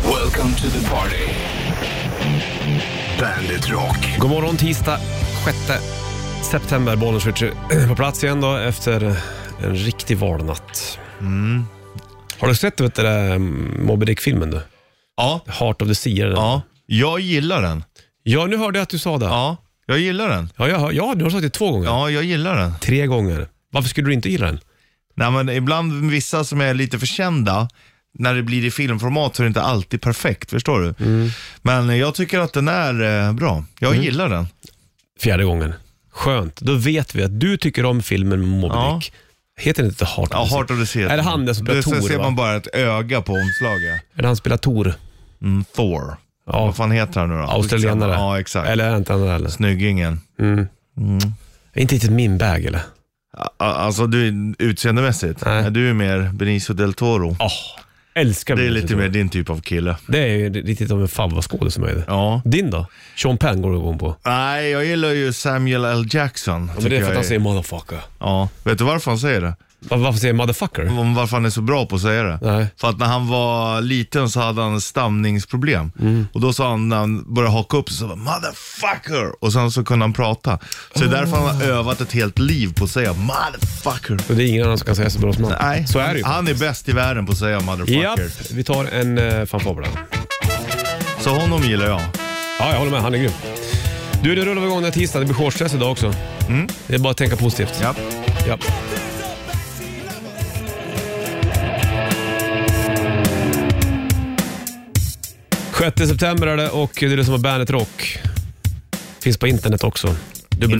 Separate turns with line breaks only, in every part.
Welcome to the party. Bandit Rock.
God morgon tisdag 6 september. Bollnäs på plats igen då efter en riktig valnatt.
Mm.
Har du sett vet du, den där mm, Moby Dick-filmen du?
Ja,
Heart of the Sea. eller?
ja. Jag gillar den.
ja, nu hörde jag att du sa det. Ja,
Ja, jag gillar den.
jag hör, ja du har sagt det två gånger.
Ja, jag gillar den.
Tre gånger. Varför skulle du inte gilla den?
Nej, men ibland vissa som är lite för kända, när det blir i filmformat så är det inte alltid perfekt, förstår du?
Mm.
Men jag tycker att den är eh, bra. Jag gillar den.
Fjärde gången. Skönt. Då vet vi att du tycker om filmen Moby
Ja.
Dick. Heter den inte Heart of the
Ja,
Sea?
Heart of the Sea.
Är det han där som spelar
Det- Sen
Thor?
ser
va?
man bara ett öga på omslaget.
Är det han som spelar Thor?
Mm, Thor.
Ja.
Vad fan heter han nu då?
Australienare?
Ja, exakt.
Eller är det inte han där? Eller?
Snyggingen.
Inte riktigt min bag eller?
A- a- Alltså du, utseendemässigt.
Nej.
Du är mer Benicio del Toro.
Ja. Älskar
Det är
Benicio
lite
del Toro.
mer din typ av kille.
Det är ju riktigt om en favvaskådis som är det.
Ja.
Din då? Sean Penn går du igång på.
Nej, jag gillar ju Samuel L. Jackson.
Men det är för att han
jag
säger motherfucker.
Ja, vet du varför han säger det?
Va- Varför säger han motherfucker?
Om Varför han är så bra på att säga det?
Nej.
För att när han var liten så hade han stamningsproblem.
Mm.
Och då sa han, när han började haka upp sig, så bara, motherfucker! Och sen så kunde han prata. Så det är därför han har övat ett helt liv på att säga motherfucker.
Och det är ingen annan som kan säga så bra som han.
Nej,
Så är det ju.
han är bäst i världen på att säga
Japp,
motherfucker.
vi tar en uh, fanfar på den.
Så honom gillar jag.
Ja, jag håller med. Han är grym. Du, det rullar vi igång den här tisdagen. Det blir shortsdress idag också.
Mm.
Det är bara att tänka positivt.
Japp.
Ja. Sjätte september är det och det är det som är Bandet Rock. Finns på internet också.
Mm.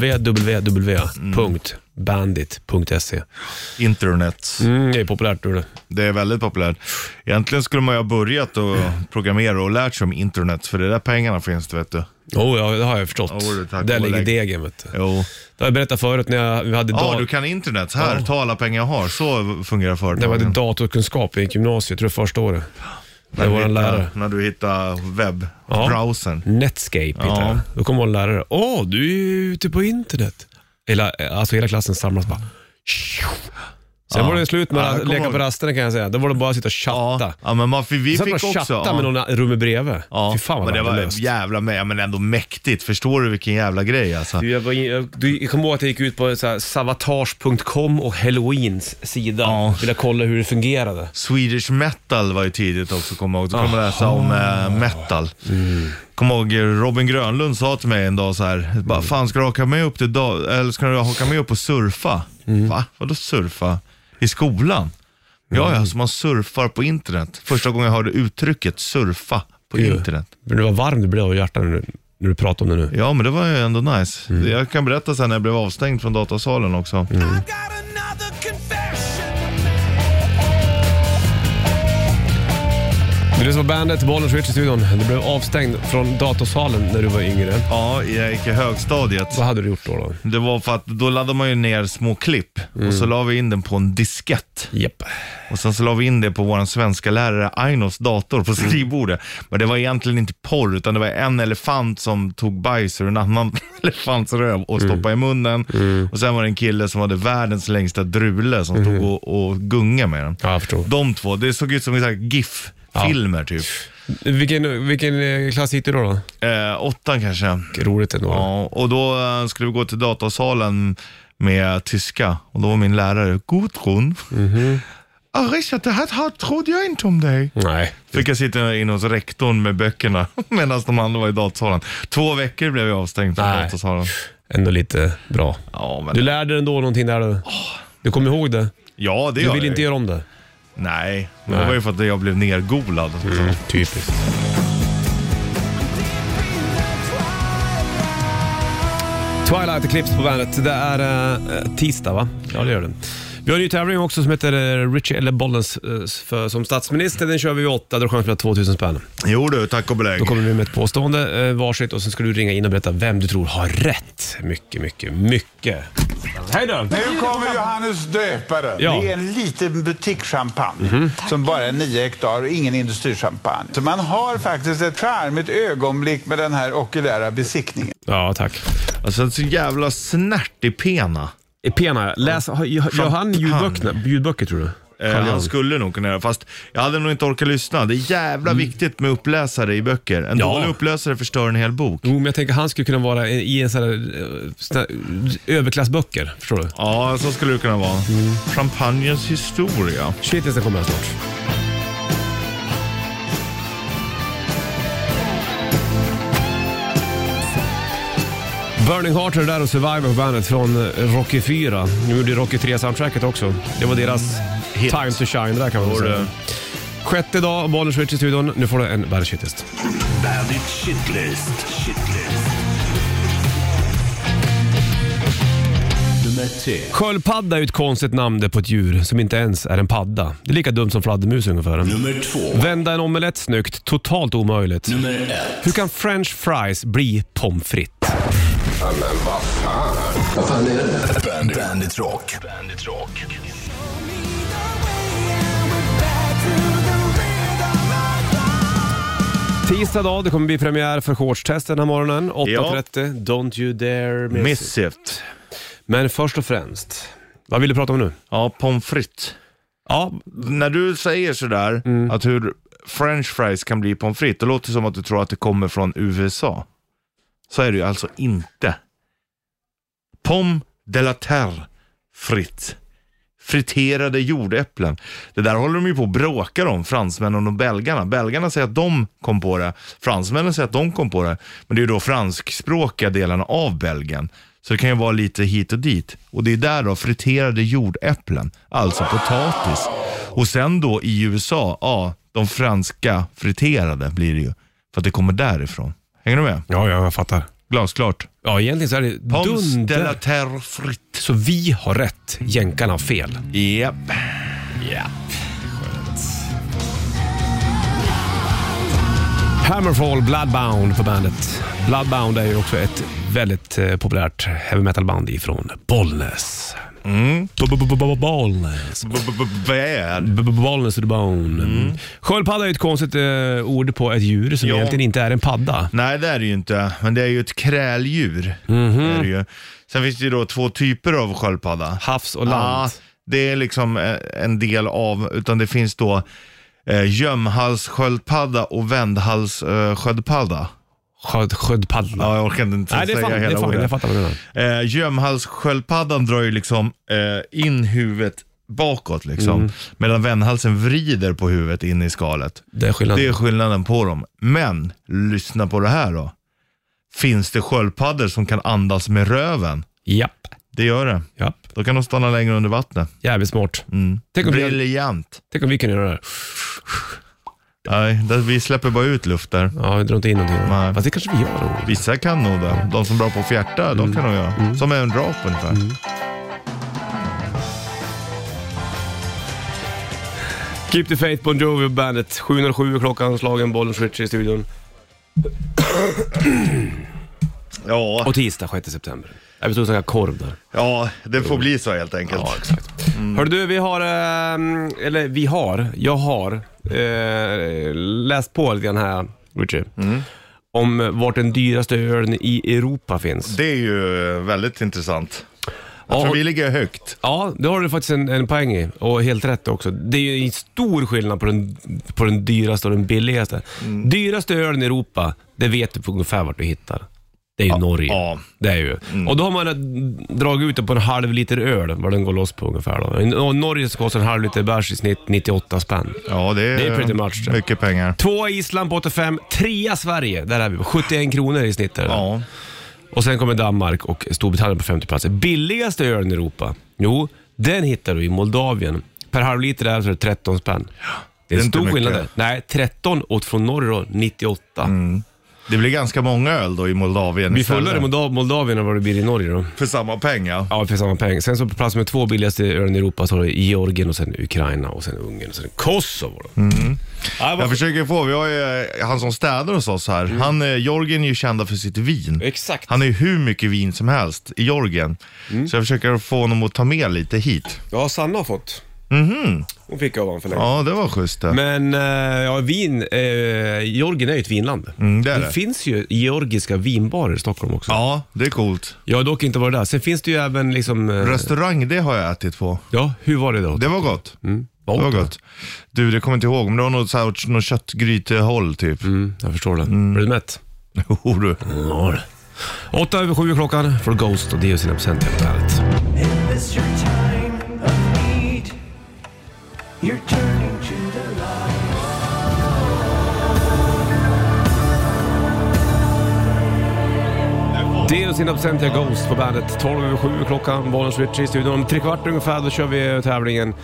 www.bandit.se
Internet.
E. mm, Det är populärt. tror du.
Det är väldigt populärt. Egentligen skulle man ju ha börjat och programmera och lärt sig om internet, för det är där pengarna finns, du vet du.
Jo, ja, det har jag förstått.
Jo, det tack
Där
och
ligger
lägg.
degen. Vet du.
Jo.
Det har jag berättat förut när jag, vi hade,
Ja,
da-
du kan internet. Här, ta alla pengar jag har. Så fungerar
när vi hade
företagen.
datorkunskap i gymnasiet, tror jag första året. Det
När du
var en
hittar-
lärare.
När du hittar
Ja.
webbrowsern.
Netscape heter
Ja.
det. Då kommer en lärare. Åh, du är ju ute på internet. Hela, alltså hela klassen samlas bara. Sen
Ja.
var det slut med
Ja, jag
att
kommer
leka på
ihåg.
rasterna kan jag säga. Då var det bara att sitta och chatta.
Ja. ja, men man, för vi
Satt man
fick
och
också...
chattade
ja.
med någon i rummet bredvid.
Ja,
Fy fan vad
men det var
värdelöst.
jävla med, ja, men ändå mäktigt. Förstår du vilken jävla grej alltså?
Du, jag, var in, jag, du, jag kommer ihåg att jag gick ut på så här savatage.com och halloweens sida.
Ja.
Ville kolla hur det fungerade.
Swedish metal var ju tidigt också, kommer jag ihåg. Då kunde man läsa om eh, metal. Kommer ihåg eh, Robin Grönlund sa till mig en dag så här, bara, fan ska du haka med upp till da- eller ska du haka med upp och surfa? Va? Vadå surfa? I skolan? Ja, ja, så man surfar på internet. Första gången jag hörde uttrycket surfa på
Ju.
internet.
Men det var varm du blev av hjärtat när, du- när du pratade om det nu.
Ja, men det var ju ändå nice. Jag kan berätta sen när jag blev avstängd från datasalen också.
Mm.
I've got another confession.
Du lyssnar på bandet, Bollen Switch i studion. Du blev avstängd från datorsalen när du var yngre.
Ja, jag gick i högstadiet.
Vad hade du gjort då? då?
Det var för att då laddade man ju ner små klipp och så la vi in den på en diskett.
Japp.
Och sen så la vi in det på vår svenska lärare Ainos dator på skrivbordet. Men det var egentligen inte porr, utan det var en elefant som tog bajs ur en annan elefants röv och stoppade i munnen. Och sen var det en kille som hade världens längsta drule som stod och, och gungade med den.
Ja, jag förstår.
De två, det såg ut som en sån här GIF-filmer typ.
Vilken, vilken eh, klass gick du då? då?
Eh, åttan kanske.
Roligt ändå.
Ja, och då eh, skulle vi gå till datasalen med tyska och då var min lärare Gudrun.
Mhm.
Ah, Richard, det här här trodde jag inte om dig.
Nej.
Fick jag sitta inne hos rektorn med böckerna medan de andra var i datasalen. Två veckor blev jag avstängd från
Nej.
datasalen.
Ändå lite bra.
Ja,
Du
men,
lärde dig ändå någonting där du. Du kommer ihåg det.
ja det
Du
gör
vill
jag
inte
ju.
göra om det.
Nej, men
Nej. Mm.
det var ju för att jag blev nergolad.
Typiskt. Twilight Eclipse på bandet. Det är eh, tisdag va? Ja, det gör det. Vi har en ny tävling också som heter eh, Richie eller Bollens eh, för, som statsminister. Den kör vi vid åtta. Då chansar vi att 2000 spänn.
Jo du, tack och belägg.
Då kommer vi med ett påstående eh, varsitt och sen ska du ringa in och berätta vem du tror har rätt. Mycket, mycket, mycket. Hej då!
Nu kommer Johannes Döparen.
Ja.
Det är en liten butikschampagne som bara är 9 hektar och ingen industrichampagne. Så man har faktiskt ett charmigt ögonblick med den här okulära besiktningen.
Ja, tack.
Alltså så jävla snärtig pena.
Eh, Pena, läs, har- gör han ljudböcker, ljudböcker tror du?
Eh,
Carl Jung.
han skulle nog kunna göra fast jag hade nog inte orkat lyssna. Det är jävla viktigt med uppläsare i böcker. En
Ja.
dålig uppläsare förstör en hel bok.
Jo, men jag tänker han skulle kunna vara i en sån här, eh, sån här överklassböcker. Förstår du?
Ja, så skulle det kunna vara. Champagnens historia.
Shit, jag ska komma här snart. Burning Heart är det där och Survivor på bandet från eh, Rocky 4. Nu gjorde ju Rocky 3-soundtracket också. Det var deras time to shine där kan man väl
Var det?
säga. Sjätte dag, Bollnäs Rich i studion. Nu får du en världens shitlist.
Bandit Shitlist. Shitlist. Nummer tre.
Sköldpadda är ju ett konstigt namn det på ett djur som inte ens är en padda. Det är lika dumt som fladdermus ungefär.
Nummer två.
Vända en omelett snyggt, totalt omöjligt.
Nummer ett.
Hur kan french fries bli pommes frites?
Bandit, Bandit Rock. Bandit Rock.
Tisdag dag, det kommer bli premiär för shortstest den här morgonen. 8.30, Don't You Dare Miss.
Miss it.
Men först och främmes, vad vill du prata om nu?
Ja, pommes frites.
Ja,
När du säger sådär, att hur french fries kan bli pommes frites, då låter det som att du tror att det kommer från USA. Så är det ju alltså inte. Pommes de la terre frites. Friterade jordäpplen. Det där håller de ju på och bråkar om, fransmännen och belgarna. Belgarna säger att de kom på det, fransmännen säger att de kom på det. Men det är ju då franskspråkiga delarna av Belgien. Så det kan ju vara lite hit och dit. Och det är där då friterade jordäpplen, alltså potatis. Och sen då i USA, ja, de franska friterade blir det ju. För att det kommer därifrån. Hänger du med?
ja, jag fattar.
Glasklart.
Ja, egentligen så är det
Pommes de la
dunder.
terre frites.
Så vi har rätt, jänkarna har fel.
Japp.
Hammerfall Bloodbound på bandet. Bloodbound är ju också ett väldigt eh, populärt heavy metal-band ifrån Bollnäs.
Mm.
Bollnäs.
Bad.
B- b- Bollnäs to the bone. Sköldpadda är ju ett konstigt eh, ord på ett djur som
Mm. Ja.
egentligen inte är en padda.
Nej, det är det ju inte. Men det är ju ett kräldjur.
Mhm.
Det är det ju. Sen finns det ju då två typer av sköldpadda.
Havs och land.
Ja, det är liksom eh, en del av, utan det finns då eh, gömhalssköldpadda och vändhalssköldpadda.
Sköld, sköldpadda.
Ja, jag orkar inte
Nej, det är
säga
fan, det
hela
är fan, jag
ordet.
fattar vad du menar.
Eh, gömhalssköldpaddan drar ju liksom eh, in huvudet bakåt liksom.
Mm.
Medan vändhalsen vrider på huvudet in i skalet.
Det är skillnaden.
Det är skillnaden på dem. Men, lyssna på det här då. Finns det sköldpaddor som kan andas med röven?
Japp.
Det gör det.
Japp.
Då kan de stanna längre under vattnet.
Jävligt smart.
Mm.
Tänk om vi-
Briljant.
Tänk om vi kunde göra det här.
Nej, där, vi släpper bara ut luft där.
Ja, vi drar inte in någonting.
Nej.
Fast det kanske vi gör då.
Vissa kan nog det. De som är bra på att fjärta,
Mm.
de kan nog göra. Som en rap ungefär.
Keep the faith, Bon Jovi och bandet. 7.07 är klockan, slagen bollen switch i studion.
Ja,
Och tisdag 6 september. Ja, vi stod och snackade korv där.
ja, det får bli så helt enkelt.
Ja, exakt.
Mm.
Hörru du, vi har, ehm, eller vi har, jag har eh, läst på lite grann här, Richie.
Mm.
Om vart den dyraste ölen i Europa finns.
Det är ju eh, väldigt intressant. Jag
Ja,
tror
och-
vi ligger högt.
Ja, det har du faktiskt en, en poäng i och helt rätt också. Det är ju en stor skillnad på den, på den dyraste och den billigaste.
Mm.
Dyraste ölen i Europa, det vet du på ungefär vart du hittar. Det är ju Norge.
ja. Mm.
Det är ju. Och då har man eh, dragit ut det på en halv liter öl, vad den går loss på ungefär. Då. I Nor- Norge så kostar en halv liter bärs i snitt 98 spänn.
Ja, det är,
Det är pretty much det.
mycket pengar.
Tvåa Island på 85, trea Sverige, där är vi på 71 kronor i snitt. är det.
Ja,
Och sen kommer Danmark och Storbritannien på 50 plats. Billigaste ölen i Europa? Jo, den hittar du i Moldavien. Per halvliter där så är det 13 spänn. Det är
Det är
en
inte
stor skillnad där.
mycket. Mm,
Nej, 13 och från norr då 98.
det blir ganska många öl då i Moldavien
Vi
istället.
fullare Moldav- Moldavien än vad det blir i Norge då.
För samma pengar.
Ja, för samma peng. Sen så på plats med två billigaste ölen i Europa så har du Georgien och sen Ukraina och sen Ungern och sen Kosovo då. Ja,
Mm. Jag
vad- Mm.
försöker få, vi har ju eh, han som städar hos oss här. Han, eh, Jorgen är ju kända för sitt vin.
Exakt.
Han har ju hur mycket vin som helst i Jorgen.
Mm.
Så jag försöker få honom att ta med lite hit.
Ja, Sanna har fått. Hon fick av honom för länge
Mhm. Ja, det var schysst det.
Men eh, ja, vin, eh, Georgien är ju ett vinland.
Mm, det är det.
finns ju georgiska vinbarer i Stockholm också.
Ja, det är coolt.
Jag har dock inte varit där. Sen finns det ju även liksom... eh,
Restaurang, det har jag ätit på.
ja, hur var det då?
Det var gott.
Vad
Det var
åt du?
gott. Du, det kommer jag inte ihåg, men det var något, så här, åt något köttgrytehåll typ.
Mm, jag förstår det. Blir du mätt?
Jo du.
Ja. Åtta över sju är klockan för Ghost och Dio sina procent helt ärligt.
It's your time of need. You're turning to the light.
Dio sina procent är Ghost på bandet. 12 över sju är klockan, Bollnäs Ritchie i studion. Om tre kvart ungefär då kör vi tävlingen.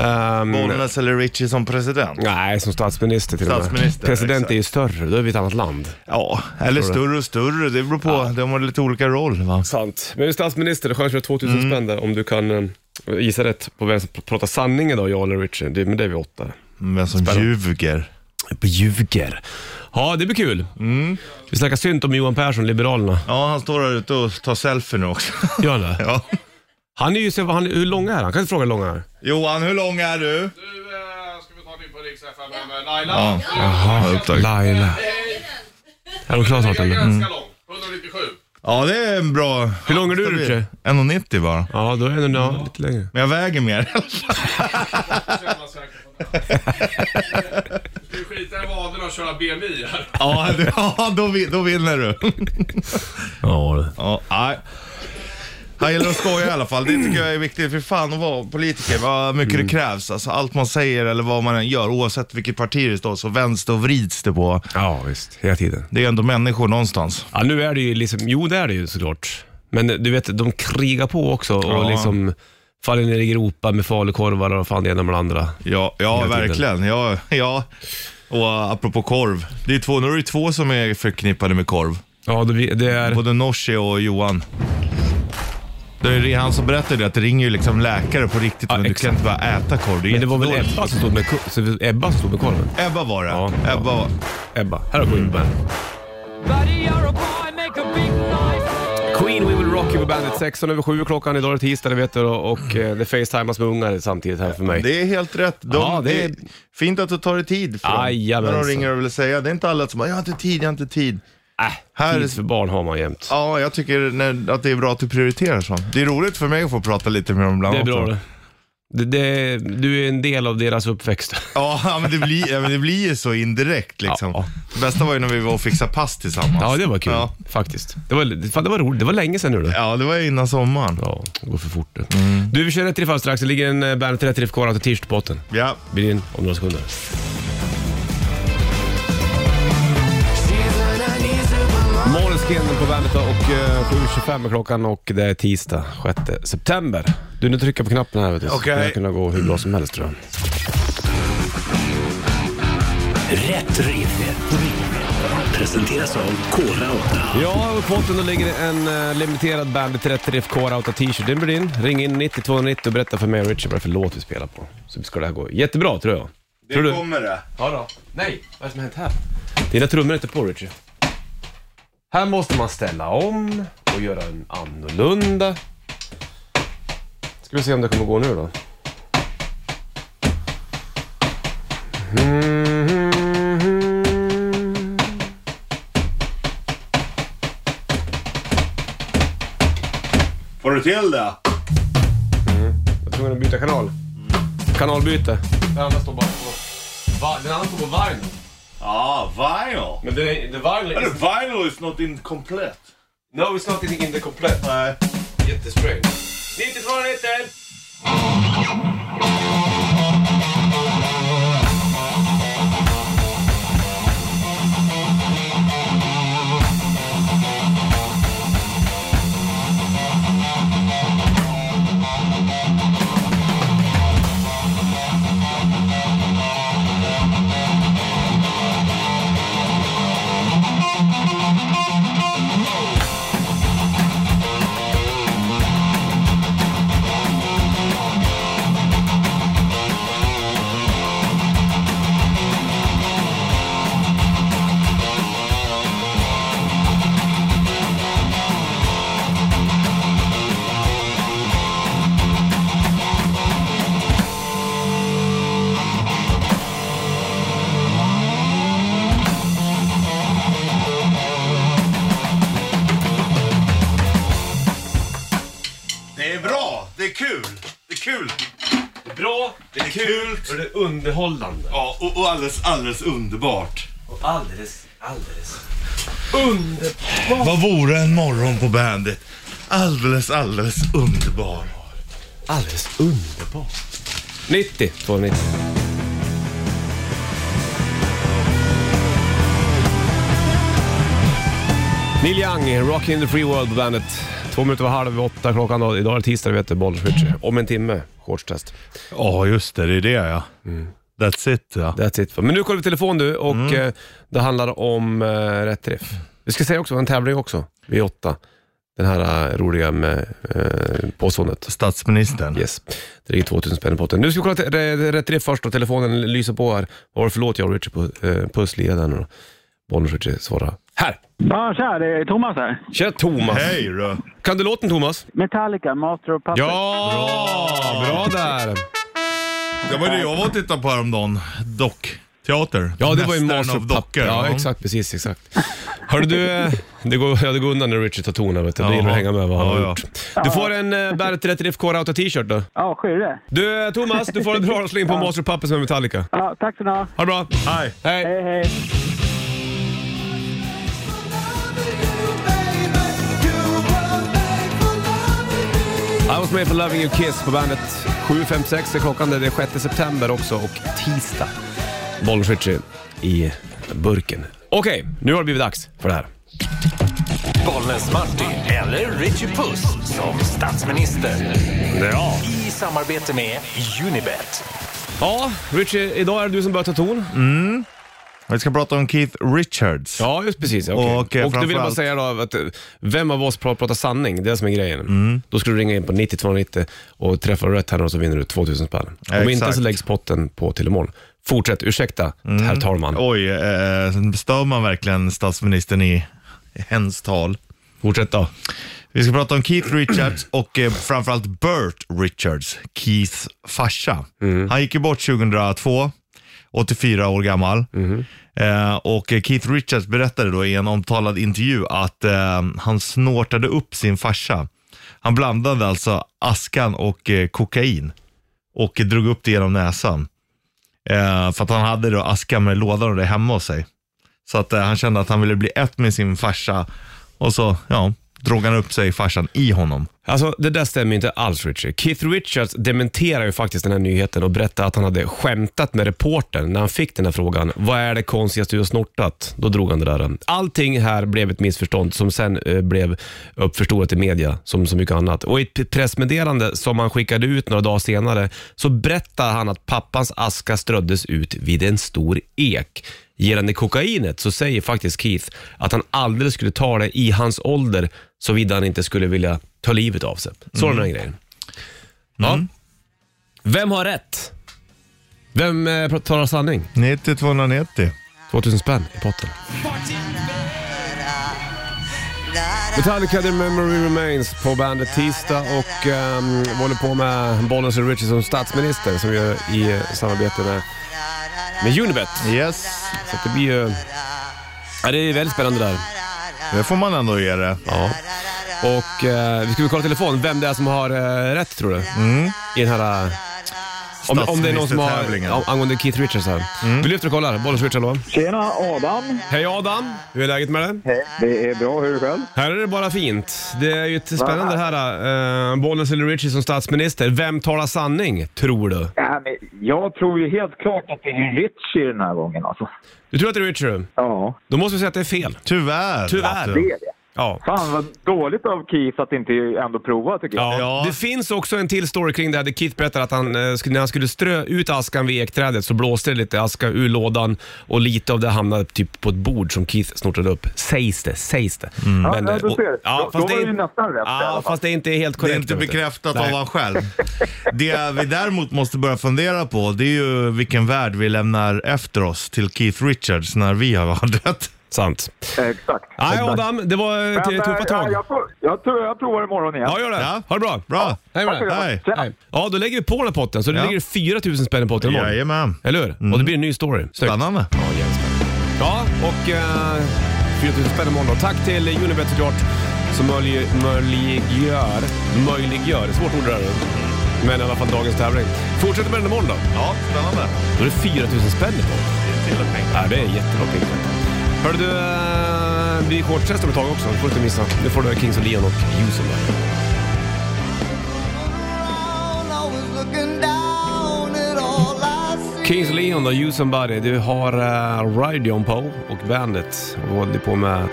Ehm,
Bollnäs eller Richie som president?
Nej, som statsminister till och
Statsminister,
med. President
exakt.
är ju större, då är vi ett annat land.
Ja, eller större och större. Det beror på. De har lite olika roll va.
Sant. Men du är statsminister, det är chans för 2000 spänn där om du kan eh, gissa rätt på vem som pr- pratar sanning idag, jag eller Richard. Det, men det är vi åtta.
Men som ljuger.
Ljuger. Ja, det blir kul. Vi snackar synd om Johan Persson, Liberalerna.
Ja, han står där ute och tar selfie nu också.
Gör han det?
ja.
Han är ju, så- han, hur lång är han? Kan du inte fråga hur lång han är?
Johan, hur lång är du? Ja. Jaha, tack.
Laila. Är de klara snart eller?
Ja, det är en bra...
Hur lång är du
stabil.
Richard?
1,90 bara.
Ja, då är den ja, lite längre.
Men jag väger mer.
Du skiter i vaderna och köra BMI här.
ja, du, ja då, vi- då vinner du.
Ja, det.
Ja, nej. Han gillar att skoja i alla fall. Det tycker jag är viktigt. För fan att vara politiker, vad mycket det krävs. Alltså, allt man säger eller vad man än gör, oavsett vilket parti det står, så vänds det och vrids det på.
ja, visst. Hela tiden.
Det är ändå människor någonstans.
Ja, nu är det ju liksom, jo det är det ju såklart. Men eh, du vet, de krigar på också och
Ja.
liksom faller ner i gropa med falukorvar och fan det ena med det andra.
Ja, ja
Hela tiden.
verkligen. Ja, ja. Och apropå korv, det är två, nu är det två som är förknippade med korv.
Ja, det, det är...
Både Nooshi och Johan. Det är det han som berättade det, att det ringer ju liksom läkare på riktigt.
Ja,
men du kan
exakt.
inte bara äta korv. Det är
Men det var väl
jättedåligt.
Ebba som stod med, ko- så Ebba som stod med korven?
Ebba var det.
Ja, ja.
Ebba var...
Ebba. Här har Queen på bandet. Queen We Will Rock You på bandet. 16 över 7 klockan, idag är det tisdag det vet du och, och eh, det facetimas med ungar samtidigt här för mig.
Det är helt rätt. De,
Ja, det
det
är-
är fint att du tar dig tid för dem. När
Jajamensan.
de ringer och vill säga. Det är inte alla som bara, jag har inte tid, jag har inte tid.
Äh,
här-
tid för barn har man jämt.
Ja, jag tycker när, att det är bra att du prioriterar sånt. Det är roligt för mig att få prata lite med dem ibland
Det är bra
också.
det. det, det du är en del av deras uppväxt.
Ja, men det blir, ja, men det blir ju så indirekt liksom.
Ja.
Det bästa var ju när vi var och fixade pass tillsammans.
Ja, det var kul
Ja,
faktiskt. Det var, fan, det var roligt. Det var länge sedan nu du.
ja det var ju innan sommaren.
Ja, det går för fort det. Du, vi kör rätt riff alldeles strax. Det ligger en eh, Bandet Rätt Riff kvar till t-shirt på botten.
Ja.
Blir in om några sekunder. Måneskin på Bandet och eh, 7.25 är klockan och det är tisdag 6 september. Du, nu trycker jag på knappen här vet du.
Okej.
Det här kunna gå hur bra som helst tror jag.
Rätt riff. Presenteras av Kora 8.
Ja, och i potten då ligger en eh, limiterad Bandet Rätt Riff Core Outa t-shirt. Den blir din. Ring in 90 290 och berätta för mig och Richard vad det är för låt vi spelar på. Så ska det här gå jättebra tror jag. tror du?
det.
Ja då. Nej, vad är det som har hänt här? Dina trummor är inte på Richard. Här måste man ställa om och göra en annorlunda. Ska vi se om det kommer gå nu då.
Får du till det?
Jag tror att byta kanal. Kanalbyte. Den andra står bara på... Va, den andra står på varm.
Ja, Ah, vinyl.
Men det är... The vinyl is...
Vinyl is not incomplete.
No, it's not in the complete.
Nej.
Jättestrange. 9290!
Det är bra, det är kul. Det är kul.
Bra, det är
kul.
Och det är underhållande.
Ja, och, och alldeles, alldeles underbart.
Och alldeles, alldeles under...
Vad vore en morgon på bandet? Alldeles, alldeles underbar.
Alldeles underbart. 90, 290. Neil Young, Rockin' the Free World på bandet. Två minuter var halv åtta klockan. då. Idag är det tisdag, vet du, bollswitch. Om en timme, shortstest.
Ja, just det. Det är det ja.
Mm.
That's it ja.
That's it. Men nu kollar vi telefon du och eh, det handlar om eh, rätt träff. Vi ska säga också, vi har en tävling också vid åtta. Den här eh, roliga med eh, påståendet.
Statsministern.
Yes. Det ligger 2000 spänn i potten. Nu ska vi kolla till, rä- rätt träff först och telefonen lyser på här. Vad var det för låt jag och Richard på, eh, pusslira där nu då? Bonniers Richard svarar. Här!
Ja, tja, det är Thomas här.
Tja Thomas!
Hej du.
Kan du låten Thomas?
Metallica, Master of Puppets.
Ja! Bra där!
Det var det jag var och tittade på häromdagen. Dock. Teater.
Ja, det var ju
Mästaren
Master
av
of
dockor.
Puppets. Ja, exakt. Precis, exakt. Hörru du, eh, det går, ja, det går undan när Richard tar ton här vet du. Det gäller att
Jaha.
hänga med vad han
Ja,
har
ja.
gjort. Du får en eh, Bandet 30 FK Rauta t-shirt då.
Ja, skyrre.
Du eh, Thomas, du får en bra sling på Master of Puppets med Metallica.
Ja, tack för nu.
Ha det bra.
Hej.
Hej.
Hej, hej.
I was made for loving you kiss på bandet. 7.56 är klockan, det är 6 september också och tisdag. Bollens Richie i burken. Okej, nu har det blivit dags för det här.
Bollnäs Martin eller Richie Puss som statsminister. Ja. I samarbete med Unibet.
Ja, Richie, idag är det du som börjar ta ton.
Vi ska prata om Keith Richards.
Ja, just precis. okej.
Och, eh,
och då vill jag bara
framförallt-
säga då att eh, vem av oss pra- pratar sanning? Det är det som är grejen.
Mm.
Då ska du ringa in på 9290 och träffa rätt här nu så vinner du 2000 spänn. Om
Exakt. Mm.
inte så läggs potten på till imorgon. Fortsätt, ursäkta, herr talman.
Oj, eh, stör man verkligen statsministern i hens tal?
Fortsätt då.
Vi ska prata om Keith Richards och eh, framförallt Burt Richards, Keiths farsa. Han gick ju bort 2002, 84 år gammal. Eh, och eh, Keith Richards berättade då i en omtalad intervju att eh, han snortade upp sin farsa. Han blandade alltså askan och eh, kokain och eh, drog upp det genom näsan. Eh, för att han hade då aska med lådan och det hemma hos sig. Så att eh, han kände att han ville bli ett med sin farsa och så, ja, drog han upp sig farsan i honom.
Alltså det där stämmer ju inte alls Richard. Keith Richards dementerar ju faktiskt den här nyheten och berättar att han hade skämtat med reportern när han fick den här frågan. Vad är det konstigaste du har snortat? Då drog han det där. Allting här blev ett missförstånd som sen eh, blev uppförstorat i media, som så mycket annat. Och i ett pressmeddelande som han skickade ut några dagar senare så berättar han att pappans aska ströddes ut vid en stor ek. Gällande kokainet så säger faktiskt Keith att han aldrig skulle ta det i hans ålder såvida han inte skulle vilja ta livet av sig. Så är det med den grejen. Ja. Vem har rätt? Vem eh, talar sanning?
90 290.
2000 spänn i potten. Metallica The Memory Remains på bandet Tisdag och um, vi håller på med Bollnäs och Richie som statsminister som vi gör i eh, samarbete med, med Unibet.
Yes,
Så att det blir ju... Ja, det är väldigt spännande där.
det får man ändå ge det.
Ja. Och eh, vi ska väl kolla telefon, vem det är som har eh, rätt tror du? I den här... eh, om, om det är någon som har...
Statsministertävlingen.
ja, Angående Keith Richards här. Vi lyfter och kollar. Bollens Richard, hallå.
Tjena, Adam.
Hej Adam, hur är läget med dig?
Hej. Det är bra, hur är det själv?
Här är det bara fint. Det är ju ett spännande det här. Uh, Bollnäs eller Richie som statsminister. Vem talar sanning, tror du?
Ja, men jag tror ju helt klart att det är Richie den här gången alltså.
Du tror att det är Richie?
Ja,
Då måste vi säga att det är fel.
Tyvärr.
Tyvärr.
vet
det
du.
är det.
Ja.
Fan vad dåligt av Keith att inte ändå prova tycker jag.
Ja.
Ja.
Det finns också en till story kring det här där Keith berättar att han, eh, skulle- när han skulle strö ut askan vid ekträdet så blåste det lite aska ur lådan och lite av det hamnade typ på ett bord som Keith snortade upp. Sägs det, sägs det. Men,
Mm. ja,
eh,
du ser. Då- då
fast
var
är
det ju
in-
nästan rätt i
Ja,
alla fall.
fast det är inte helt
Det
korrekt.
är inte
vet du.
bekräftat
Nej.
av han själv. Det vi däremot måste börja fundera på, det är ju vilken värld vi lämnar efter oss till Keith Richards när vi har dött.
Sant.
Exakt.
Nej, Adam, det var eh, t-
Men,
tuffa
eh,
tag.
ja, jag, får, jag tror jag provar imorgon igen.
Ja, gör det.
Ja.
Ha det bra.
Bra.
Hej med dig.
Hej.
Hej. Ja, då lägger vi på den här potten, så det
Ja.
ligger 4 000 spänn i potten imorgon.
Jajamän. Mm.
Eller hur? Och det blir en ny story. Snyggt.
Spännande.
Ja, och eh, 4 000 spänn imorgon då. Tack till Unibet såklart, som möjlig- möjliggör, möjliggör, svårt ord det där. Men i alla fall dagens tävling. Fortsätter med den imorgon då.
Ja, spännande.
Då är det 4000 spänn på.
Det är till och med.
Ja, det är jättebra pengar. Hörru du, eh, det blir shortstest om ett tag också. Det får du inte missa. Nu får du Kings of Leon och Jusen där. Kings of Leon och You Somebody. Du har uh, Rideon på och Bandet. Och håller på med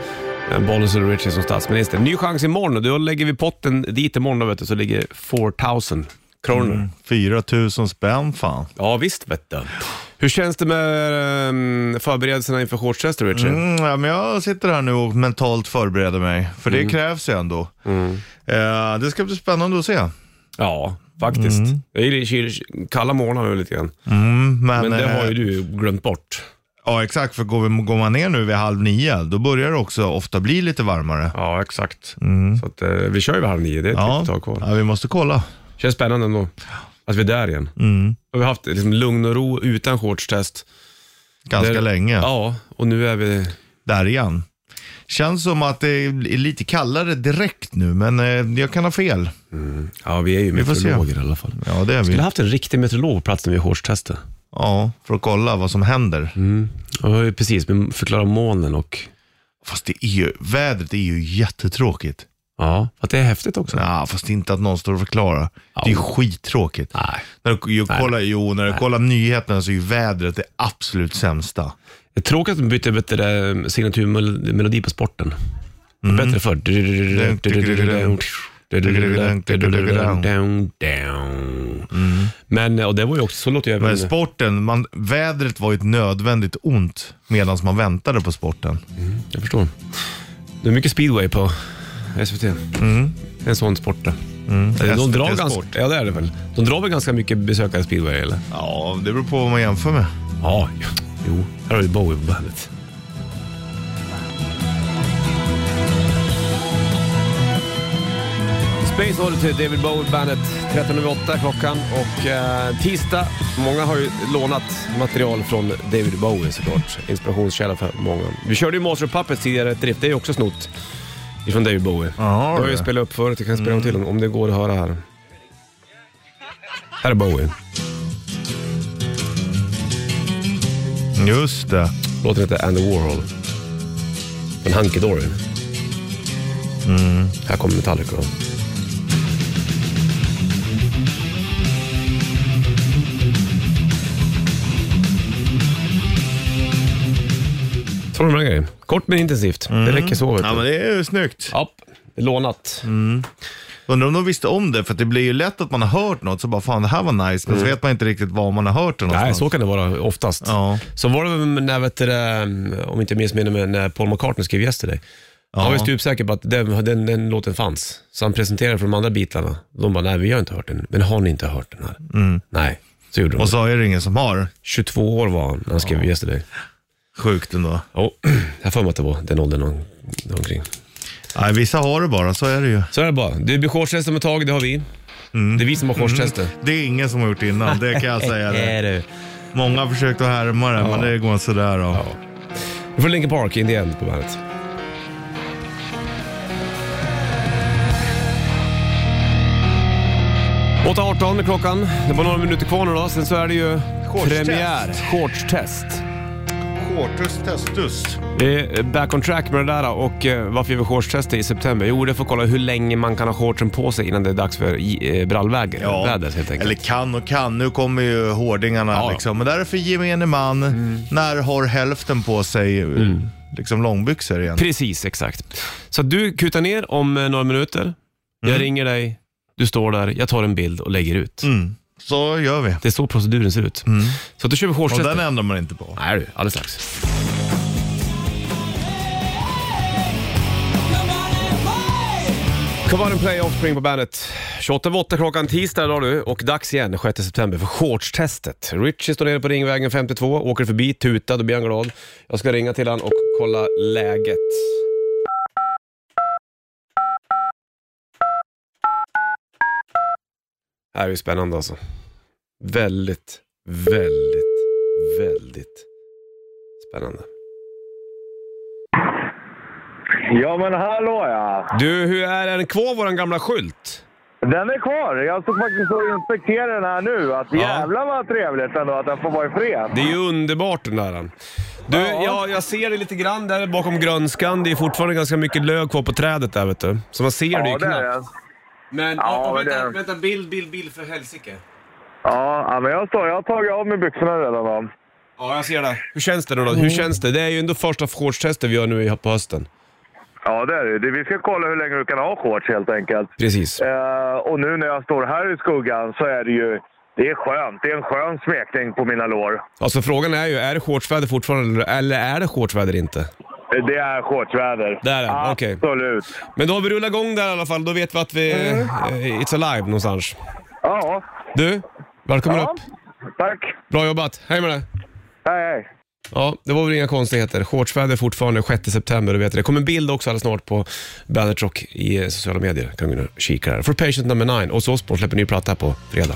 eh, Bollnäs och Richie som statsminister. Ny chans imorgon och då lägger vi potten dit imorgon då, vet du, så ligger 4000 kronor.
4 000 spänn fan.
Ja visst vet du. Hur känns det med um, förberedelserna inför shortstester Richie?
Mm, ja, men jag sitter här nu och mentalt förbereder mig, för
Mm.
det krävs ju ändå. Eh, det ska bli spännande att se.
Ja, faktiskt. Jag gillar kyl- kalla morgnar nu lite grann.
Mm, men
Men det
eh,
har ju du glömt bort.
Ja, exakt. För går, vi, går man ner nu vid halv nio, då börjar det också ofta bli lite varmare.
Ja, exakt. Så att, eh, vi kör ju vid halv nio, det är ett litet tag kvar.
ja vi måste kolla. Mm.
Känns spännande ändå. Att vi är där igen. Och vi har haft liksom, lugn och ro utan shortstest.
Ganska
Det-
länge.
Ja, och nu är vi...
Där igen. Känns som att det är lite kallare direkt nu, men eh, jag kan ha fel.
Ja, vi är ju
Vi får se.
meteorologer i alla fall.
Ja, det är
Skulle
vi.
haft en riktig meteorolog på plats när vi shortstestade.
Ja, för att kolla vad som händer.
Mm. Och vi har ju precis förklarat molnen och...
Fast det är ju, vädret är ju jättetråkigt.
Ja, för att det är häftigt också.
Ja, fast inte att någon står och förklarar. Det är ju skittråkigt.
Nej.
När du, ju, kollar, jo, när du kollar nyheterna så är ju vädret det absolut sämsta.
Det är tråkigt att de bytte bytte det, signaturmelodi på sporten. Mm. Bättre förr. Mm. Men, och det var ju också, så låter ju
Men
även...
sporten, man, vädret var ju ett nödvändigt ont medan man väntade på sporten.
Jag förstår. Det är mycket speedway på SVT. En sån sport det. De
SVT
drar
Sport.
ganska, ja det är det väl. De drar väl ganska mycket besökare speedway eller?
Ja, det beror på vad man jämför med.
Ja, jo. Här har vi Bowie på bandet. Space Oddity, David Bowie på bandet. 13.08 klockan och eh, tisdag. Många har ju lånat material från David Bowie såklart. Inspirationskälla för många. Vi körde ju Master of Puppets tidigare, ett riff. Det är ju också snott ifrån David Bowie.
Ja,
det har
det.
jag spelat upp förut, jag kan spela mm. till om, om det går att höra här. Här är Bowie.
Just det.
Låten heter Andy Warhol. Men Hunky Dory.
Mm.
Här kommer Metallica. då. Så var det med den grejen. Kort men intensivt. Det räcker så. Vet
Mm. Ja, men
du.
Mm. det är ju snyggt.
Ja, det är lånat.
Undrar om de visste om det, för att det blir ju lätt att man har hört något, så bara fan det här var nice, men så vet man inte riktigt var man har hört det någonstans.
Nej, så kan det vara oftast.
Ja.
Så var det väl när, vet du, det, om inte jag missminner mig, när Paul McCartney skrev Yesterday. Han var ju stupsäker på att den, den, den låten fanns. Så han presenterade för de andra bitarna. De bara, nej vi har inte hört den. Men har ni inte hört den här? Nej, så gjorde de.
Mm. Och så är det ingen som har.
22 år var han när han skrev Yesterday.
Sjukt ändå.
Jo, jag har för mig att det var den åldern om- omkring.
Nej, vissa har det bara, så är det ju.
Så är det bara. Det blir shortstest om ett tag, det har vi. Det är vi som har shortstestet.
Det är ingen som har gjort det innan, Mm. det kan jag säga. Det.
du.
Många har försökt att härma det, men det går sådär. Då.
Vi får Linkin Park, In the End på bandet. Åtta arton är klockan. Det var några minuter kvar nu då. Sen så är det ju
Shortstest.
premiär. Shortstest.
Quartus testus.
Det är back on track med det där och eh, varför gör vi shortstester i september? Jo, det får kolla hur länge man kan ha shortsen på sig innan det är dags för i- eh, brallväder.
Ja,
Väder, helt enkelt.
eller kan och kan. Nu kommer ju hårdingarna
Ja, Mm. ja.
liksom. Men därför gemene man, när har hälften på sig
Mm.
liksom långbyxor igen?
Precis, exakt. Så att du kutar ner om eh, några minuter. Jag ringer dig, du står där, jag tar en bild och lägger ut.
Mm. Så gör vi.
Det är så proceduren ser ut. Så att du kör vi
Och
shortstester.
den ändrar man inte på.
Nej du, alldeles strax. Come on and play Offspring på bandet. 28 över 8 klockan tisdag idag du och dags igen 6 september för shortstestet. Richie står nere på Ringvägen 52, åker förbi, tutar, då blir han glad. Jag ska ringa till han och kolla läget. Det här är ju spännande alltså. Väldigt, väldigt, väldigt spännande.
Ja, men hallå ja.
Du, hur är den kvar våran gamla skylt?
Den är kvar. Jag stod faktiskt och inspekterade den här nu. Att jävlar vad trevligt ändå att den får vara i fred.
Det är ju underbart den där. Du, jag, jag ser det lite grann där bakom grönskan. Det är fortfarande ganska mycket löv kvar på trädet där vet du. Så man ser det ju
Ja, det är
knappt.
den.
Men,
Ja,
ja,
men
vänta,
det-
vänta, bild, bild, bild för helsike.
Ja, ja, men jag, står, jag har tagit av mig byxorna redan. Då.
Ja, jag ser det. Hur känns det då?
Mm.
Hur känns det? Det är ju ändå första shortstestet vi gör nu i- på hösten.
Ja, det är det. Det- Vi ska kolla hur länge du kan ha shorts helt enkelt.
Precis.
Eh, och nu när jag står här i skuggan så är det ju... Det är skönt. Det är en skön smekning på mina lår.
Alltså frågan är ju, är det shortsväder fortfarande eller är det shortsväder inte?
Det är shortsväder.
Det är det, okej.
Absolut.
Men då har vi rullat igång där i alla fall. Då vet vi att vi...
Mm.
eh, It's alive någonstans.
Ja,
Du, välkommen
Ja.
upp.
tack.
Bra jobbat. Hej med dig.
Hej, hej.
Ja, det var väl inga konstigheter. Shortsväder fortfarande 6 september, du vet det. Det kommer en bild också alldeles snart på Bandet Rock i eh, sociala medier. Kan gå in och kika där. For Patient Number 9 och Osbourne släpper ny platta på fredag.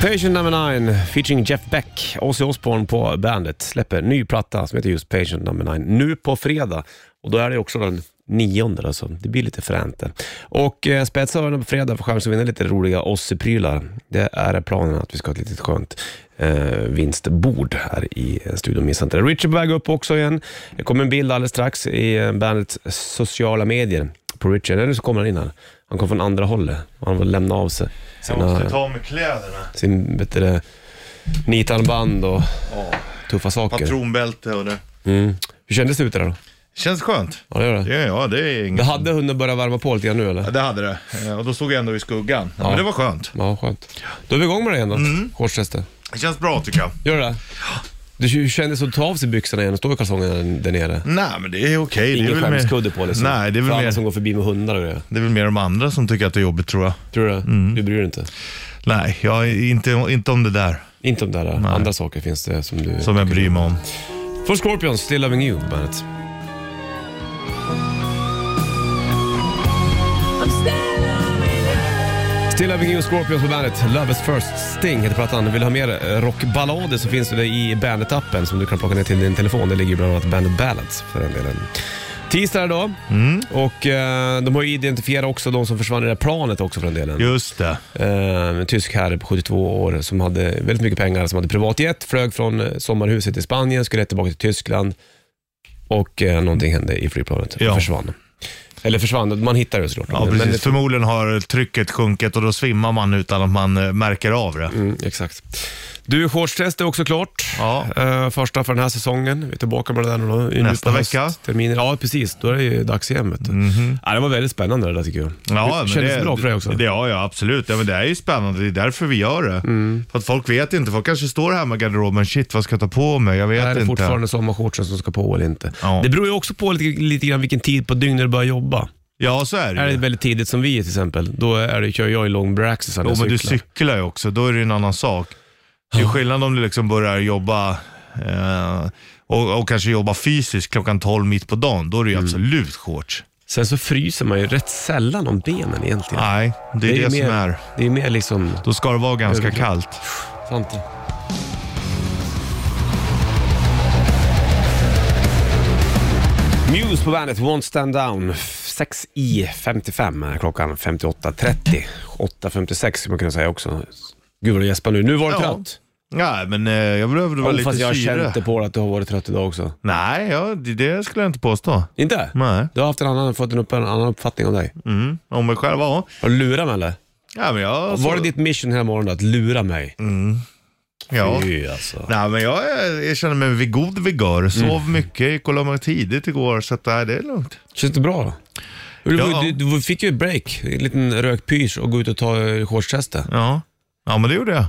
Patient Number 9 featuring Jeff Beck, Ozzy Osbourne på bandet, släpper ny platta som heter just Patient Number 9 nu på fredag. Och då är det också den nionde då, så det blir lite fränt det. Och eh, spetsa öronen på fredag för chans att vinna lite roliga Ozzy-prylar. Det är planen att vi ska ha ett litet skönt eh, vinstbord här i eh, studion. Missa inte det. Richard är på väg upp också igen. Det kommer en bild alldeles strax i eh, bandets sociala medier på Richard. Eller så kommer han in här. Han kom från andra hållet och han vill lämna av sig
Jag
sina
måste ta av mig kläderna.
sin vet du, det, nitarmband och tuffa saker.
Patronbälte och det.
Mm. Hur kändes det ute där då?
Känns skönt.
Ja, det gör det.
Ja, ja det är
Det
inget.
hade hunden börjat värma på lite grann nu
Ja,
eller?
Det hade det. Eh, Och då stod jag ändå i skuggan. Ja. Men det var skönt.
Ja, skönt. Då är vi igång med det igen då.
Mm.
Shortstestet.
Det känns bra tycker jag.
Gör det? Du hur kändes det att ta av sig byxorna igen och stå i kalsongerna där- där nere?
Nej, men det är okej. Det är
Ingen
väl mer-
skämskudde på liksom.
Nej, det är
För
väl
alla
mer...
som går förbi med hundar och grejer.
Det är väl mer de andra som tycker att det är jobbigt tror jag.
Tror du det?
Mm.
Du bryr dig inte?
Nej, jag är inte, inte om det där
Inte om det där. Andra saker finns det som du...
som jag bryr mig om.
För Scorpions, Still Loving You på bandet. Still Loving You, Scorpions på bandet. Love is first, Sting heter plattan. Vill du ha mer eh, rockballader så finns det i bandet-appen som du kan plocka ner till din telefon. Det ligger ju bland annat Bandet Ballads för den delen. Tisdag idag och eh, de har ju identifierat också de som försvann i det här planet också för den delen.
Just det.
Eh, en tysk herre på 72 år som hade väldigt mycket pengar, som hade privatjet, flög från eh, sommarhuset i Spanien, skulle tillbaka till Tyskland och eh, någonting hände i flygplanet.
Ja.
och försvann. Eller försvann, man hittar det såklart.
Ja,
Men-
precis. Förmodligen har trycket sjunkit och då svimmar man utan att man eh, märker av det.
Mm, exakt. Du, shortstest är också klart.
Ja.
Eh, första för den här säsongen. Vi är tillbaka med det där nu då. Nu
Nästa
på
vecka. Mhm.
höstterminen. Ja, precis. Då är det ju dags igen. Vet du. Ja, det var väldigt spännande det där tycker jag.
Ja, men
det kändes det bra för dig också?
Det, ja, ja, absolut. Ja, men det är ju spännande. Det är därför vi gör det.
Mm.
För att folk vet inte. Folk kanske står hemma i garderoben. Shit, vad ska jag ta på mig? Jag vet
Är det
inte.
fortfarande sommarshortsen som ska på eller inte?
Ja.
Det beror ju också på lite, lite grann vilken tid på dygnet du börjar jobba.
Ja, så är det
Är
ju.
det väldigt tidigt som vi är till exempel, då är det, kör jag i long braxisar när
Jo,
jag
men du
cyklar.
cyklar ju också. Då är det ju en annan sak. Det är skillnad om du liksom börjar jobba eh, och, och kanske jobba fysiskt klockan 12 mitt på dagen. Då är det
Mm.
ju absolut shorts.
Sen så fryser man ju rätt sällan om benen egentligen.
Nej, det är det,
ju
som
mer,
är.
Det är mer liksom...
Då ska det vara ganska
Överklart.
kallt.
Sant. Muse på bandet, Won't Stand Down. 6 i 55 är klockan 58.30. 8.56 skulle man kunna säga också. Gud vad du gäspar nu. Nu var du
Ja.
trött.
Nej, men eh, jag behövde
Ja,
väl lite
fast jag har
syre.
känt det på dig att du har varit trött idag också.
Nej, ja, det, det skulle jag inte påstå.
Inte?
Nej.
Du har haft en annan, fått en, upp, en annan uppfattning om dig.
Mm. Om mig själv, ja.
Har du lurat mig eller?
ja, men jag
Var det ditt mission hela morgonen att lura mig?
Ja.
Fy, alltså.
Nej, men jag, är- jag känner mig vid god vigör. Sov
Mm.
mycket, gick och la mig tidigt igår, så att, nej, det är lugnt.
Känns det bra då? Du,
Ja.
du, du fick ju ett break, en liten rökpysch och gå ut och ta eh, shortstestet.
Ja. ja, men det gjorde jag.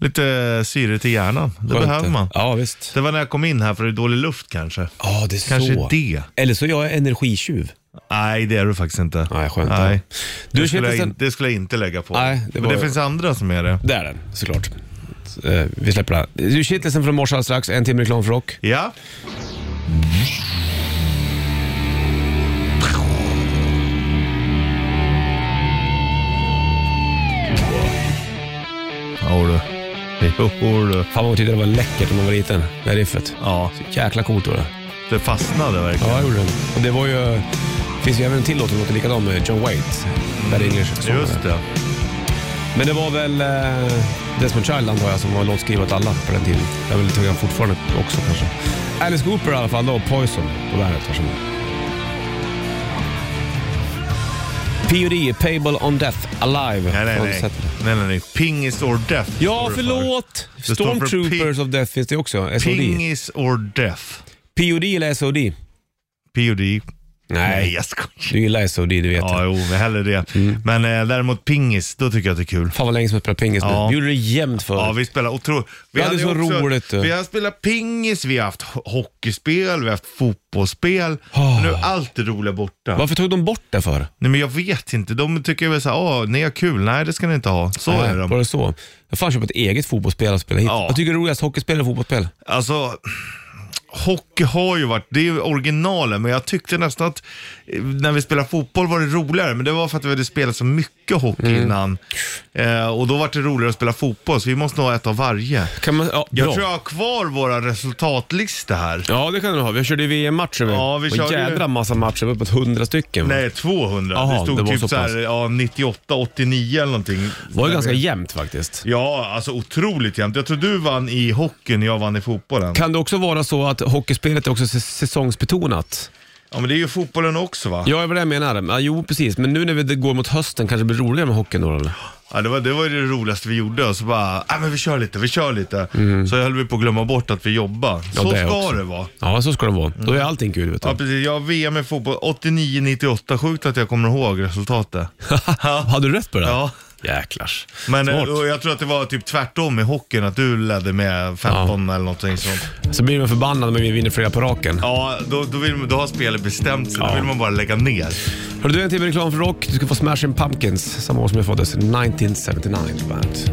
Lite syre till hjärnan, det
Skönt
behöver man.
Ja, visst.
Det var när jag kom in här för det är dålig luft kanske.
Ja, det är
Kanske
så.
det.
Eller så jag är energitjuv.
Nej, det är du faktiskt inte.
Nej, skönt.
Nej.
Du,
Det, skulle
Kittelsen-
jag in, det skulle jag inte lägga på.
Nej, det
det,
var-
Men det finns andra som är det.
Det är den, såklart. Eh, Vi släpper det. här. Du, Kittelsen från morse alldeles strax. En timme reklam för rock.
Ja, ja du. Jo, du.
Fan vad man tyckte det var läckert när man var liten. Det här riffet.
Ja.
Jäkla coolt var det.
det fastnade verkligen.
Ja, jag gjorde den. Och det var ju... Det finns ju även en till låt som låter likadan med John Waite. Bad English. sångare.
Just det.
Men det var väl eh, Desmond Child antar jag som var låtskrivare åt alla på den tiden. Jag vill tugga fortfarande också kanske. Alice Cooper i alla fall då, och Poison på bandet. Varsågod. P.O.D. Payable on Death Alive.
Nej, nej,
Har du
nej.
sett det?
nej, nej, nej. Pingis or death.
Ja,
står det för.
förlåt!
för
Stormtroopers of Death finns det också. SOD.
Pingis or death.
P.O.D. eller SOD?
POD. Nej,
Nej,
jag skojar.
du gillar SOD, det Mm. vet
Ja,
jag.
jo, men hellre det. Men eh, däremot pingis, då tycker jag att det är kul.
Fan vad länge som jag spelar pingis nu.
Ja.
Vi gjorde det jämt förut.
Ja, vi spelar otroligt.
Ja, det
Vi
är
hade
så
också-
roligt, du.
Vi har spelat pingis, vi har haft ho- hockeyspel, vi har haft fotbollsspel.
Ah.
Nu är allt det roliga borta.
Varför tog de bort det för?
Nej, men jag vet inte. De tycker väl såhär, ah, ni har kul. Nej, det ska ni inte ha. Så
Nej,
är de.
Var det så? Jag fan köpa ett eget fotbollsspel och spela hit.
Ja.
Vad tycker du är roligast, hockeyspel eller fotbollsspel?
Alltså, hockey har ju varit, det är ju originalen, men jag tyckte nästan att eh, när vi spelade fotboll var det roligare, men det var för att vi hade spelat så mycket hockey
Mm.
innan. Eh, och då var det roligare att spela fotboll, så vi måste nog ha ett av varje.
Kan man, ja,
Jag
bra.
tror jag har kvar våra resultatlista här.
Ja, det kan du ha. Vi körde ju VM-matcher med.
Ja, vi
Och
körde ju-
jädra massa matcher. Det var uppåt hundra stycken. va?
Nej, 200.
Jaha,
det stod
det var
typ
så
så här,
pass.
ja, 98, 89 eller någonting.
Det var ju ganska jämnt faktiskt.
Ja, alltså otroligt jämnt. Jag tror du vann i hockeyn och jag vann i fotbollen.
Kan det också vara så att hockeyspelet är också säs- säsongsbetonat?
Ja, men det är ju fotbollen också va?
Ja, det var det jag menar. Ja, jo, precis. Men nu när vi går mot hösten kanske det blir roligare med hockeyn då, eller?
Ja, det, var, det var ju det roligaste vi gjorde och så bara, ah, men vi kör lite, vi kör lite. Så höll vi på att glömma bort att vi jobbar.
Ja,
så
det
ska
också.
det vara.
Ja, så ska det vara. Då är allting kul, vet du.
Ja, precis. Jag har VM i fotboll 89-98, sjukt att jag kommer ihåg resultatet.
Hade du rätt på det?
Ja.
Jäklars.
Men eh,
Smart.
och jag tror att det var typ tvärtom i hockeyn, att du ledde med 15 eller någonting sånt.
Så blir man förbannad men vi vinner flera på raken.
Ja, då, då, vill, man- då har spelet bestämt sig.
Ja.
Då vill man bara lägga ner.
Hörru du, en timme reklam för rock. Du ska få Smashing Pumpkins, samma år som jag föddes, 1979 på bandet.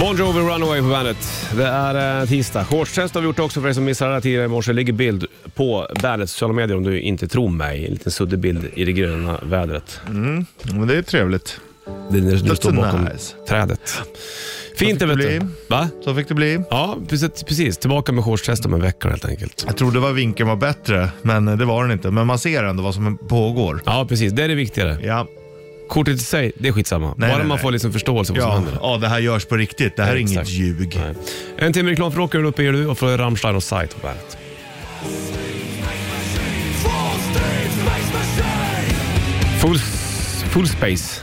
Bon Jovi Runaway på bandet. Det är eh, tisdag. Shortstest har vi gjort också för er som missade det här tidigare i morse. ligger bild på bandets sociala medier om du inte tror mig. En liten suddig bild i det gröna vädret.
Men det är trevligt.
Det är när du
That's
står bakom
nice.
trädet. Fint det vet
bli.
du. Va?
Så fick det bli.
Ja, precis. precis. Tillbaka med shortstest om en vecka helt enkelt.
Jag trodde var vinkeln var bättre, men eh, det var den inte. Men man ser ändå vad som pågår.
Ja, precis. Det är det viktigare.
Ja,
Kortet i sig, det är skitsamma.
Nej,
Bara
nej,
man
nej.
får liksom förståelse för vad som
ja,
händer.
ja, det här görs på riktigt. Det här är inget
Exakt.
ljug.
Nej. En timme reklam för rock är uppe i du och för Rammstein och Sight på bandet. Full, full space.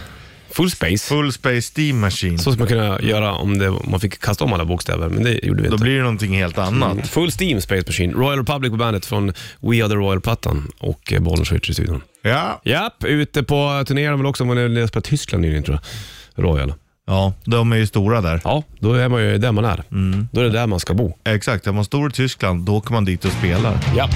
Full space.
Full Space Steam Machine.
Så skulle man kunna göra om, det, om man fick kasta om alla bokstäver, men det gjorde vi
Då
inte.
blir det någonting helt annat.
Full Steam Space Machine. Royal Republic på bandet från We Are The Royal-plattan och eh, Bollnäs Switch i studion.
Ja.
Japp, ute på turné de väl också, men de spelade Tyskland nyligen tror jag. Royal.
ja, de är ju stora där.
Ja, då är man ju där man är.
Mm.
Då är det där man ska bo.
Exakt, är man stor i Tyskland, då åker man dit och spelar.
Ja.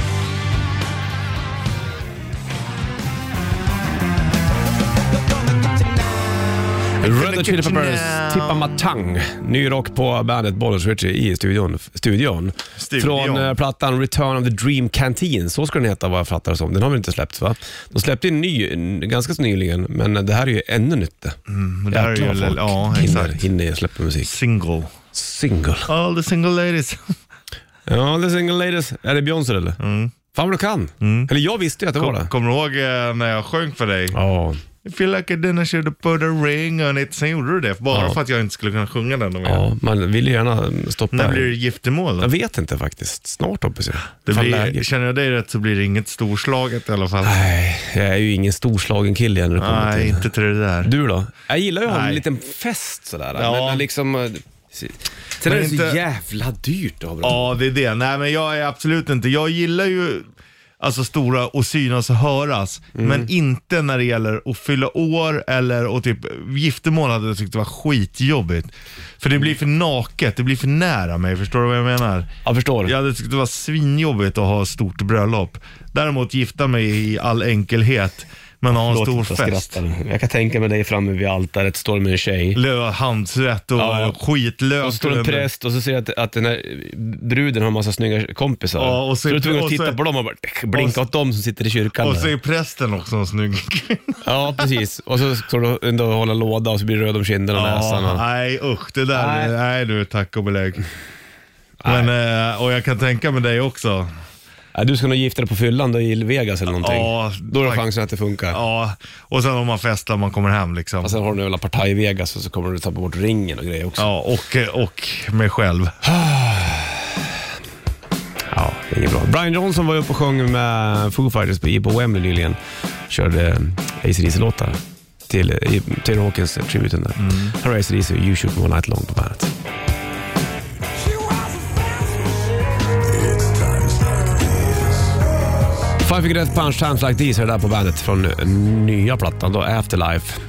Red Hot Chili Peppers, Tippa Matang. Ny rock på bandet Bollers Richie i studion. studion.
Studion.
Från eh, plattan Return of the Dream Canteen. Så ska den heta vad jag fattar det som. Den har väl inte släppts va? De släppte en ny en- ganska så nyligen, men eh, det här är ju ännu nytt. Mm,
det här är ju- ja,
hinner,
exakt.
hinner släppa musik.
Single.
Single.
All the single ladies.
Ja, The Single Ladies. Är det Beyoncé eller? Mm. Fan vad du kan.
Mm.
Eller jag visste ju att det var det.
Kommer du ihåg eh, när jag sjöng för dig?
Ja,
I feel like I didn't should have put a ring on it. Sen gjorde du det, bara
Ja.
för att jag inte skulle kunna sjunga den. om igen.
ja, man vill ju gärna stoppa.
När
en.
blir det giftermål
Jag
då?
vet inte faktiskt. Snart hoppas jag.
Det
Fan,
blir,
läget.
känner jag dig rätt så blir det inget storslaget i alla fall.
Nej, jag är ju ingen storslagen kille när det kommer
Nej,
till
inte till det där.
Du då? Jag gillar ju att ha
Nej.
en liten fest sådär.
Ja.
Men liksom... eh, Sen är det
inte-
så jävla dyrt att ha bra.
Ja, det är det. Nej, men jag är absolut inte. Jag gillar ju alltså stora och synas och höras,
Mm.
men inte när det gäller att fylla år eller och typ giftermål hade jag tyckt det var skitjobbigt. För det blir för naket, det blir för nära mig. Förstår du vad jag menar?
Jag förstår.
Jag hade tyckt det var svinjobbigt att ha stort bröllop. Däremot gifta mig i all enkelhet Men ha en
Förlåt
stor
att jag
fest.
skrattar nu. Jag kan tänka mig dig framme vid altaret, står med en tjej.
Lö- Handsvett och
Ja, ja.
skitlök.
Och så står en präst och så ser jag att, att den här bruden har en massa snygga kompisar.
Ja, och
så
så-
är du tvungen att
och så-
titta på dem och bara "Äh,
och
blinka
så-
åt dem som sitter i kyrkan.
Och
där.
så är prästen också en snygg kvinna.
Ja, precis. Och så står du ändå och håller låda och så blir du röd om kinderna och näsan.
Ja,
Och...
nej usch, det där,
Nej.
nej, du tack och belägg. Men, eh, och jag kan tänka med dig också.
Nej, du ska nog gifta dig på fyllan då i Vegas eller någonting.
Ja,
då är det
tack.
chansen att det funkar.
Ja, och sen om man festar man kommer hem liksom.
Och sen har du en jävla partaj i Vegas och så kommer du tappa bort ringen och grejer också.
Ja, och, och mig själv.
Ja, det är inget bra. Brian Johnson var ju uppe och sjöng med Foo Fighters på, på Wembley nyligen. Körde ACDC-låtar till eh, i- Taylor Hawkins-tributen där.
Mm.
Här har ACDC och You Shoot Me All Night Long på bandet. Five Finger Death Punch, Times Like These är det där på bandet från eh, nya plattan då, Afterlife.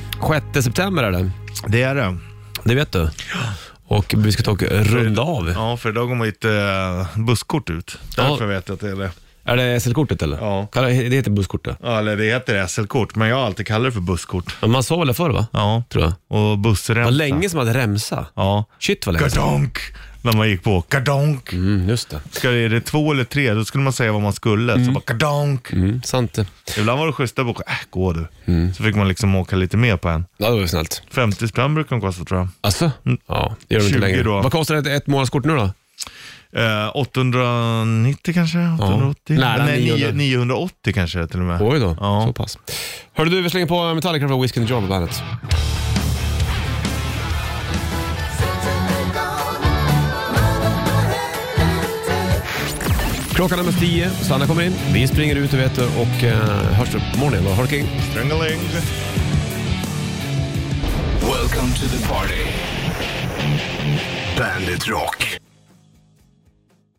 6 september är det,
Det är det.
det vet du. Och vi ska ta och runda av.
Ja, för idag går mitt eh, busskort ut.
Ja.
Därför vet jag att det är det.
Är det SL-kortet eller?
Ja.
Kallar- Det heter busskortet.
Ja, eller det heter SL-kort, men jag har alltid kallat det för busskort.
Men man sa väl det förr va?
Ja,
Tror jag.
och bussremsa.
Vad länge som hade remsa.
Ja.
Shit vad länge sedan.
Kadonk! När man gick på kadonk.
Mm, just det.
Ska, är det två eller tre, då skulle man säga vad man skulle. Så bara kadonk.
Mm, sant det.
Ibland var det schyssta bok. Äh, gå du.
Mm.
Så fick man liksom åka lite mer på en.
Ja, det var ju snällt.
50 spänn brukar de kosta tror jag.
Alltså? Ja, det gör det inte
20
längre.
Mm. då.
Vad kostar ett, ett månadskort nu då?
Eh, 890 kanske? 880?
Nära
Nej,
900.
980 kanske det till och med.
Oj då,
Ja.
så pass. Hörru du, vi slänger på Metallica för Whiskey and the Jar på bandet. Klockan är med tio, Sanna kommer in. Vi springer ut, du vet du, och eh, hörs upp på morgonen. Har du king?
Strangeling.
Welcome to the party. Bandit Rock.